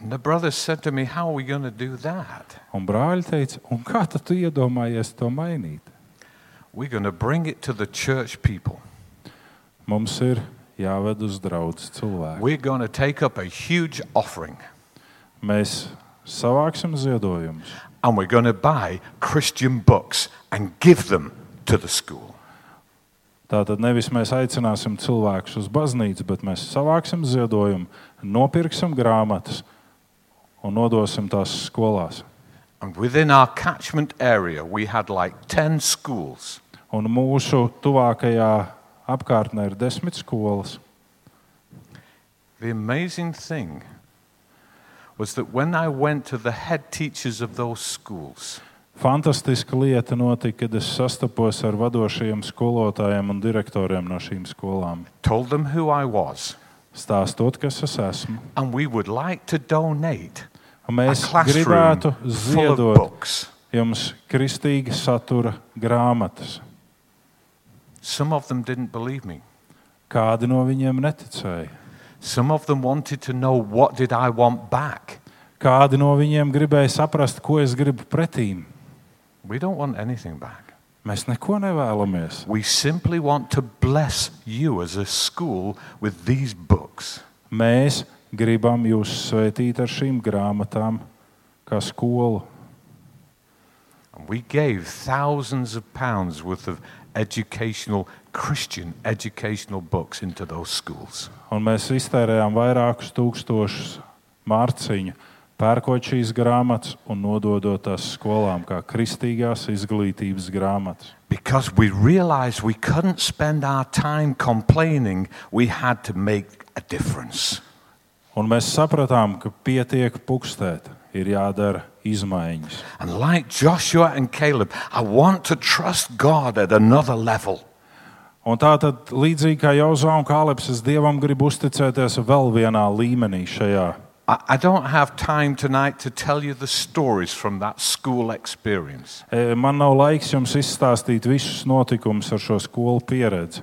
[SPEAKER 3] And the brothers said to me, How are we going to do that?
[SPEAKER 1] Un brāļi teica, un kā tad tu iedomājies to mainīt?
[SPEAKER 3] We're going to bring it to the church people.
[SPEAKER 1] Mums ir jāved uz draugu cilvēku.
[SPEAKER 3] We're going to take up a huge offering
[SPEAKER 1] Mēs savāksim ziedojumus
[SPEAKER 3] and we're going to buy Christian books and give them to the school.
[SPEAKER 1] Tātad nevis mēs aicināsim cilvēkus uz baznīcu, bet mēs savāksim ziedojumu, nopirksim grāmatas un nodosim tās skolās.
[SPEAKER 3] And within our catchment area, we had like 10 schools.
[SPEAKER 1] Un mūsu tuvākajā apkārtnē ir desmit skolas.
[SPEAKER 3] The amazing thing was that when I went to the head teachers of those schools,
[SPEAKER 1] Fantastiska lieta notika, kad es sastapos ar vadošajiem skolotājiem un direktoriem no šīm skolām.
[SPEAKER 3] told them who I was,
[SPEAKER 1] Stāstot, kas es esmu.
[SPEAKER 3] and we would like to donate
[SPEAKER 1] Un
[SPEAKER 3] a
[SPEAKER 1] mēs
[SPEAKER 3] classroom
[SPEAKER 1] gribētu
[SPEAKER 3] full of
[SPEAKER 1] ziedot
[SPEAKER 3] books.
[SPEAKER 1] jums kristīga satura grāmatas.
[SPEAKER 3] Some of them didn't believe me.
[SPEAKER 1] Kādi no viņiem neticēja?
[SPEAKER 3] Some of them wanted to know what did I want back.
[SPEAKER 1] Kādi no viņiem gribēja saprast, ko es gribu pretīm?
[SPEAKER 3] We don't want anything back.
[SPEAKER 1] Mēs neko nevēlamies.
[SPEAKER 3] We simply want to bless you as a school with these books.
[SPEAKER 1] Mēs gribam jūs svētīt ar šīm grāmatām, kā skolu.
[SPEAKER 3] And we gave thousands of pounds worth of educational, Christian educational books into those schools.
[SPEAKER 1] Un mēs iztērējām vairākus tūkstošus mārciņu, pērkot šīs grāmatas un nododot tās skolām, kā kristīgās izglītības grāmatas.
[SPEAKER 3] Because we realized we couldn't spend our time complaining, we had to make a difference.
[SPEAKER 1] Un mēs sapratām, ka pietiek pukstēt, ir jādara izmaiņas.
[SPEAKER 3] And like Joshua and Caleb, I want to trust God at another level.
[SPEAKER 1] Un tā tad, līdzīgi kā Jauzā un Kāleps, es Dievam gribu uzticēties vēl vienā līmenī šajā.
[SPEAKER 3] I, I don't have time tonight to tell you the stories from that school experience,
[SPEAKER 1] E, Man nav laiks jums izstāstīt visus notikumus ar šo skolu pieredzi.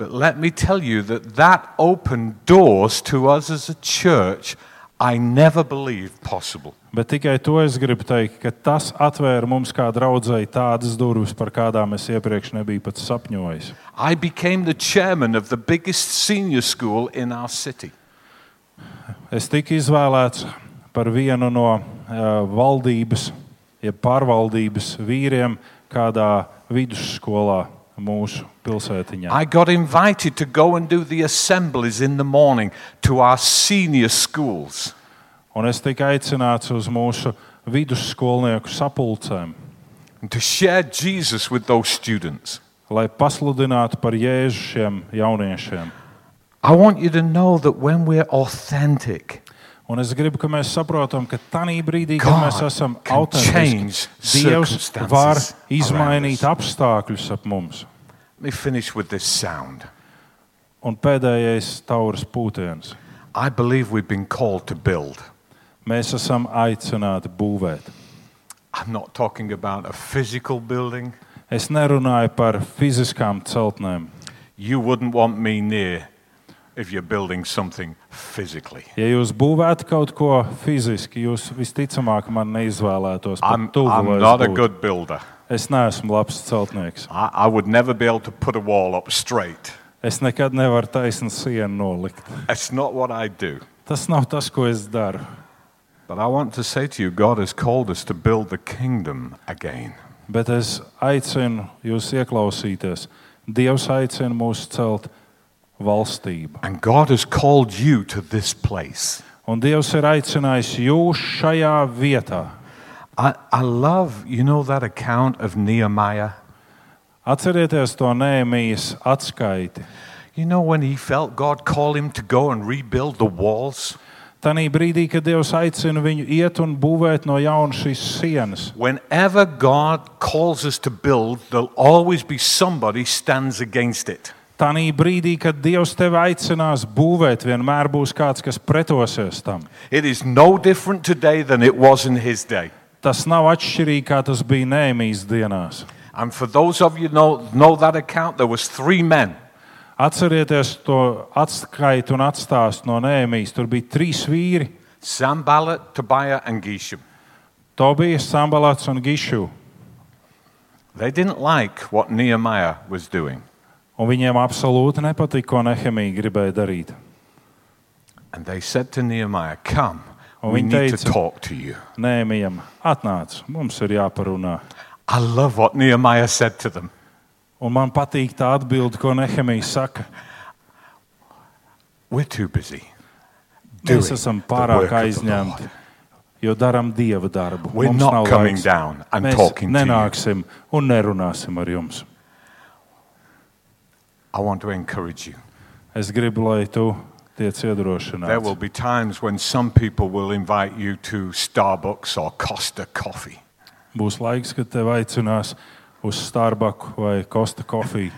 [SPEAKER 3] but let me tell you that that opened doors to us as a church I never believed possible.
[SPEAKER 1] Bet tikai to es gribu teikt, ka tas atvēra mums kā draudzēji tādas durvis, par kādām es iepriekš nebiju pat sapņojis.
[SPEAKER 3] I became the chairman of the biggest senior school in our city.
[SPEAKER 1] Es tiku izvēlēts par vienu no uh, valdības, jeb pārvaldības vīriem kādā vidusskolā mūsu pilsētiņā.
[SPEAKER 3] I got invited to go and do the assemblies in the morning to our senior schools.
[SPEAKER 1] Un es tiku aicināts uz mūsu vidusskolnieku sapulcēm,
[SPEAKER 3] and to share Jesus with those students.
[SPEAKER 1] lai pasludinātu par jēzu šiem jauniešiem.
[SPEAKER 3] I want you to know that when we're authentic,
[SPEAKER 1] Un es gribu, lai mēs saprotam, ka tajā brīdī, kad
[SPEAKER 3] God
[SPEAKER 1] mēs esam
[SPEAKER 3] can change
[SPEAKER 1] autentiski, Dievs
[SPEAKER 3] circumstances
[SPEAKER 1] var
[SPEAKER 3] around
[SPEAKER 1] izmainīt
[SPEAKER 3] us.
[SPEAKER 1] apstākļus ap mums.
[SPEAKER 3] let me finish with this sound.
[SPEAKER 1] Un pēdējais tauras pūtiens.
[SPEAKER 3] I believe we've been called to build.
[SPEAKER 1] Mēs esam aicināti būvēt.
[SPEAKER 3] I'm not talking about a physical building.
[SPEAKER 1] Es nerunāju par fiziskām celtnēm.
[SPEAKER 3] You wouldn't want me near if you're building something physically.
[SPEAKER 1] Ja jūs būvētu kaut ko fiziski, jūs visticamāk man neizvēlētos. par
[SPEAKER 3] I'm,
[SPEAKER 1] tuvu, lai
[SPEAKER 3] I'm
[SPEAKER 1] es
[SPEAKER 3] not a
[SPEAKER 1] būtu.
[SPEAKER 3] good builder.
[SPEAKER 1] Es neesmu labs celtnieks.
[SPEAKER 3] I, I would never be able to put a wall up straight.
[SPEAKER 1] Es nekad nevaru taisnu sienu nolikt.
[SPEAKER 3] That's not what I do.
[SPEAKER 1] Tas nav tas, ko es daru.
[SPEAKER 3] But I want to say to you, God has called us to build the kingdom again.
[SPEAKER 1] Bet es aicinu jūs ieklausīties. Dievs aicina mūs celt valstību.
[SPEAKER 3] And God has called you to this place.
[SPEAKER 1] Un Dievs ir aicinājis jūs šajā vietā.
[SPEAKER 3] I, I love, you know, that account of Nehemiah?
[SPEAKER 1] Atcerieties to nēmijas atskaiti.
[SPEAKER 3] You know when he felt God call him to go and rebuild the walls?
[SPEAKER 1] Tanī brīdī, kad Dievs aicina viņu iet un būvēt no jauna šīs sienas,
[SPEAKER 3] Whenever God calls us to build, there'll always be somebody stands against it.
[SPEAKER 1] tanī brīdī, kad Dievs tevi aicinās būvēt, vienmēr būs kāds, kas pretosies tam.
[SPEAKER 3] It is no different today than it was in his day.
[SPEAKER 1] Tas nav atšķirīgi, kā tas bija Nēmijas dienās.
[SPEAKER 3] And for those of you know know that account, there was three men.
[SPEAKER 1] Atcerieties to atskaitu un atstāstu no Nēmijas. Tur bija trīs vīri -
[SPEAKER 3] Sambalat, Tobiah, and Geshem.
[SPEAKER 1] Tobijas, Sambalats un Gišu.
[SPEAKER 3] They didn't like what Nehemiah was doing,
[SPEAKER 1] Un viņiem absolūti nepatika, ko Nehemija gribēja darīt.
[SPEAKER 3] and they said to Nehemiah, "Come,
[SPEAKER 1] Oh,
[SPEAKER 3] we need to
[SPEAKER 1] indeed.
[SPEAKER 3] talk to you."
[SPEAKER 1] Nēmijam atnāca, mums ir jāparunā.
[SPEAKER 3] I love what Nehemiah said to them.
[SPEAKER 1] Un man patīk tā atbilde, ko Nehemija saka.
[SPEAKER 3] We're too busy.
[SPEAKER 1] Mēs
[SPEAKER 3] Doing
[SPEAKER 1] esam
[SPEAKER 3] the
[SPEAKER 1] pārāk
[SPEAKER 3] work of the
[SPEAKER 1] aizņemti,
[SPEAKER 3] Lord.
[SPEAKER 1] jo darām dieva darbu.
[SPEAKER 3] We're
[SPEAKER 1] Mums
[SPEAKER 3] not
[SPEAKER 1] nav
[SPEAKER 3] coming
[SPEAKER 1] laiks.
[SPEAKER 3] down and
[SPEAKER 1] Mēs
[SPEAKER 3] talking to you.
[SPEAKER 1] nenāksim un nerunāsim ar jums.
[SPEAKER 3] I want to encourage you.
[SPEAKER 1] Es gribu, lai tu tiec
[SPEAKER 3] There will
[SPEAKER 1] iedrošināts.
[SPEAKER 3] be times when some people will invite you to Starbucks or Costa coffee.
[SPEAKER 1] Būs laiks, kad tev aicinās uz Starbucks vai Costa Coffee.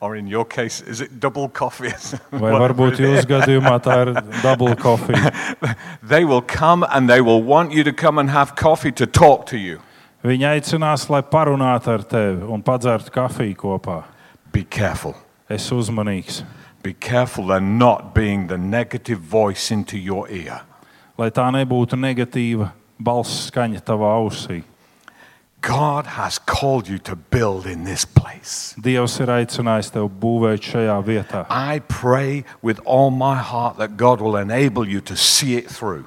[SPEAKER 3] Or in your case, is it double coffee?
[SPEAKER 1] Vai varbūt jūsu gadījumā tā ir dubulta kofija.
[SPEAKER 3] They will come and they will want you to come and have coffee to talk to you.
[SPEAKER 1] Viņi aicinās, lai parunātu ar tevi un padzertu kafiju kopā.
[SPEAKER 3] Be careful.
[SPEAKER 1] Es uzmanīgs,
[SPEAKER 3] Be careful they're not being the negative voice into your ear.
[SPEAKER 1] lai tā nebūtu negatīva balss skaņa tavā ausī.
[SPEAKER 3] God has called you to build in this place.
[SPEAKER 1] Dievs ir aicinājis tevi būvēt šajā vietā.
[SPEAKER 3] I pray with all my heart that God will enable you to see it through.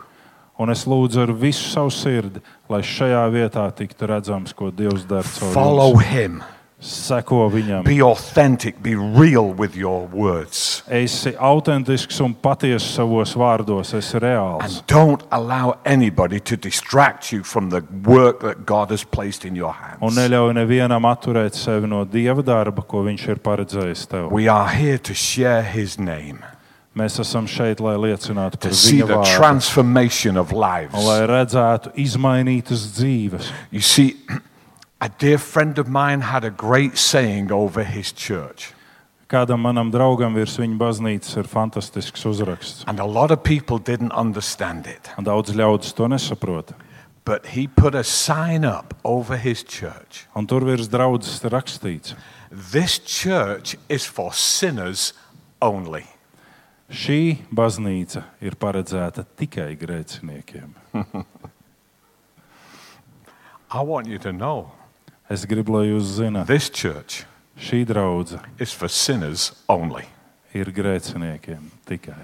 [SPEAKER 1] Un es lūdzu ar visu savu sirdi, lai šajā vietā tiktu redzams, ko Dievs dara. caur
[SPEAKER 3] Follow
[SPEAKER 1] jums.
[SPEAKER 3] Him.
[SPEAKER 1] Seko viņam,
[SPEAKER 3] Be authentic. Be real with your words.
[SPEAKER 1] esi autentisks un patiess savos vārdos, esi reāls.
[SPEAKER 3] And don't allow anybody to distract you from the work that God has placed in
[SPEAKER 1] Un
[SPEAKER 3] your hands.
[SPEAKER 1] neļauj nevienam atturēt sevi no dieva darba, ko viņš ir paredzējis tev.
[SPEAKER 3] We are here to share His name,
[SPEAKER 1] Mēs esam šeit, lai liecinātu
[SPEAKER 3] to
[SPEAKER 1] par
[SPEAKER 3] see
[SPEAKER 1] viņa
[SPEAKER 3] the
[SPEAKER 1] vārdu,
[SPEAKER 3] transformation of lives.
[SPEAKER 1] un lai redzētu izmainītas dzīves.
[SPEAKER 3] You see, a dear friend of mine had a great saying over his church,
[SPEAKER 1] Kādam manam draugam virs viņa baznīcas ir fantastisks uzraksts.
[SPEAKER 3] and a lot of people didn't understand it.
[SPEAKER 1] Un Daudz ļaudis to nesaprot.
[SPEAKER 3] But he put a sign up over his church
[SPEAKER 1] Un tur virs draudzes ir rakstīts,
[SPEAKER 3] This church is for sinners only.
[SPEAKER 1] ka šī baznīca ir paredzēta tikai grēciniekiem.
[SPEAKER 3] I want you to know
[SPEAKER 1] Es gribu, lai jūs zināt,
[SPEAKER 3] this church
[SPEAKER 1] šī draudzene
[SPEAKER 3] is for sinners only
[SPEAKER 1] ir grēciniekiem tikai,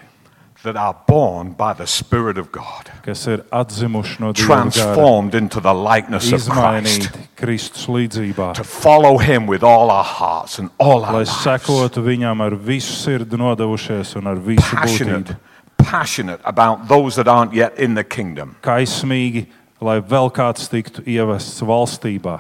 [SPEAKER 3] that are born by the Spirit of God,
[SPEAKER 1] kas ir atzimuši no Dieva gara,
[SPEAKER 3] transformed into the likeness of Christ.
[SPEAKER 1] izmainīti Kristus līdzjūtībā,
[SPEAKER 3] To follow him with all our hearts and all our
[SPEAKER 1] lai
[SPEAKER 3] lives.
[SPEAKER 1] sekotu viņam ar visu sirdi nodevušies un ar visu
[SPEAKER 3] passionate,
[SPEAKER 1] būtību,
[SPEAKER 3] passionate about those that aren't yet in the kingdom.
[SPEAKER 1] kaismīgi, lai vēl kāds tiktu ievests valstībā.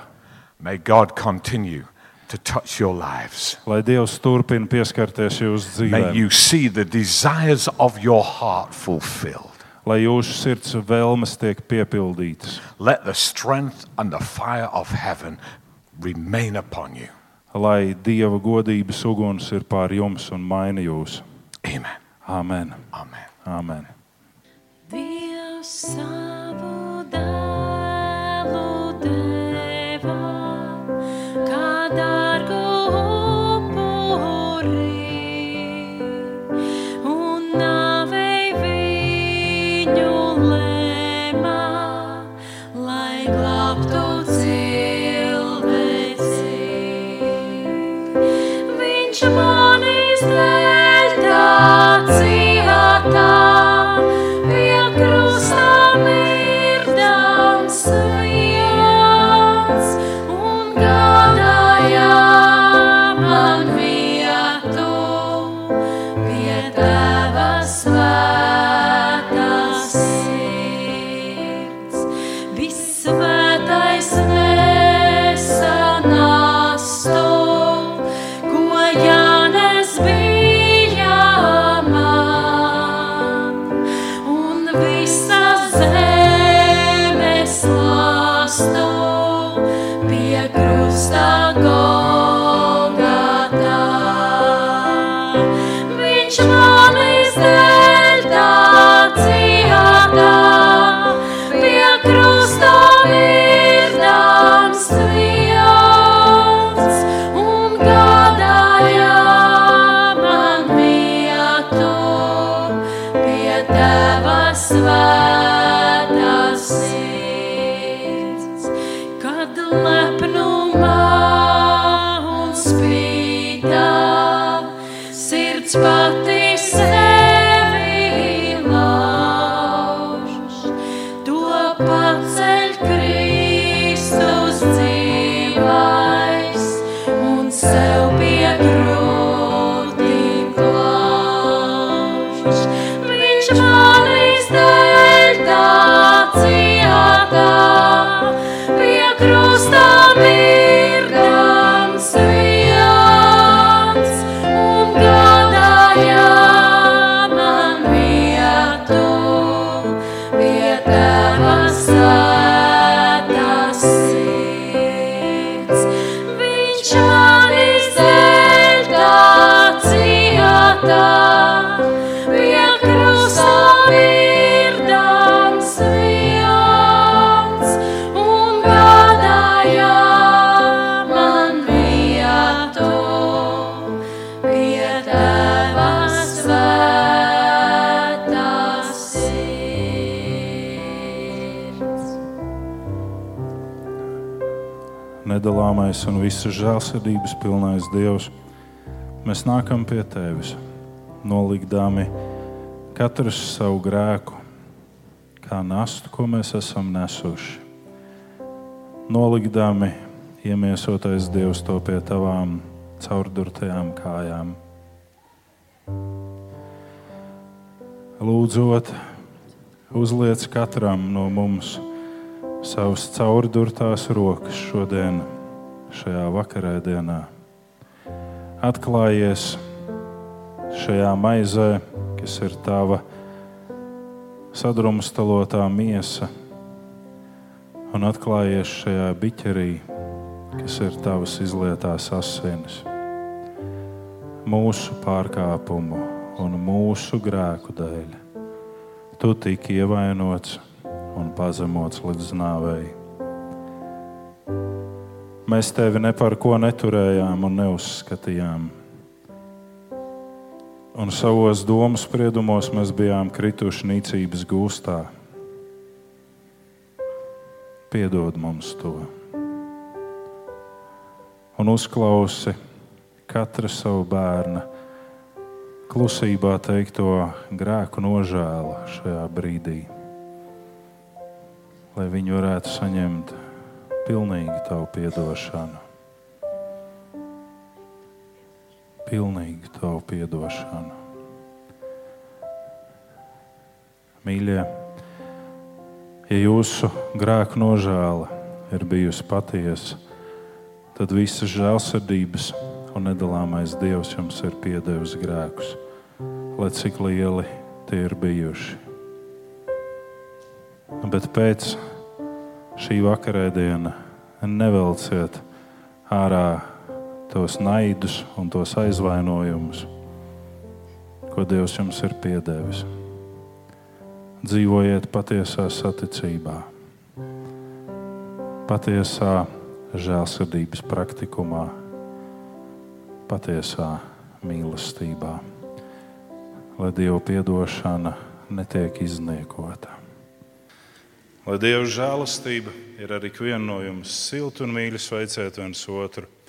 [SPEAKER 3] May God continue to touch your lives.
[SPEAKER 1] Lai Dievs turpina pieskarties jūsu
[SPEAKER 3] May
[SPEAKER 1] dzīvēm,
[SPEAKER 3] you see the desires of your heart fulfilled.
[SPEAKER 1] lai jūsu sirds vēlmes tiek piepildītas,
[SPEAKER 3] Let the strength and the fire of heaven remain upon you.
[SPEAKER 1] lai Dieva godības uguns ir pār jums un maina jūs.
[SPEAKER 3] Amen.
[SPEAKER 1] Amen.
[SPEAKER 3] Amen.
[SPEAKER 1] Amen.
[SPEAKER 4] Dievs savu dēlu deva, kā dārgu upuri, un nāvei viņu lēmā, lai glābtu cilvēci. Viņš manis dēļ tā cietā, pie krusta mīlestības. mans, viņš mani zelta cietā. Pie krusta mirdams viens un gādāja man vietu pie tava svētās sirds.
[SPEAKER 1] nedalāmais un visas žēlsirdības pilnais Dievs, mēs nākam pie Tevis, nolikdami katrs savu grēku, kā nastu, ko mēs esam nesuši. Nolikdami iemiesotais Dievs to pie Tavām caurdurtajām kājām. Lūdzot, uzliec katram no mums savas caurdurtās rokas šodien, šajā vakarēdienā. Atklājies šajā maizē, kas ir tava sadrumstalotā miesa, un atklājies šajā biķerī, kas ir tavas izlietās asinis. Mūsu pārkāpumu un mūsu grēku dēļ tu tiki ievainots un pazemots līdz nāvei. Mēs tevi ne par ko neturējām un neuzskatījām. Un savos domu spriedumos mēs bijām krituši nīcības gūstā. Piedod mums to. Un uzklausi katra savu bērna klusībā teikto grēku nožēlu šajā brīdī lai viņi varētu saņemt pilnīgu tavu piedošanu. Pilnīgu tavu piedošanu. Mīļie, ja jūsu grēku nožēla ir bijusi patiesa, tad visas žēlsirdības un nedalāmais Dievs jums ir piedevis grēkus, lai cik lieli tie ir bijuši. Bet pēc šī vakarēdiena nevelciet ārā tos naidus un tos aizvainojumus, ko Dievs jums ir piedevis. Dzīvojiet patiesā saticībā, patiesā žēlsirdības praktikumā, patiesā mīlestībā, lai Dieva piedošana netiek izniekota. Lai Dieva žēlastība ir ar ikvienu no jums silta un mīļa sveiciet viens otru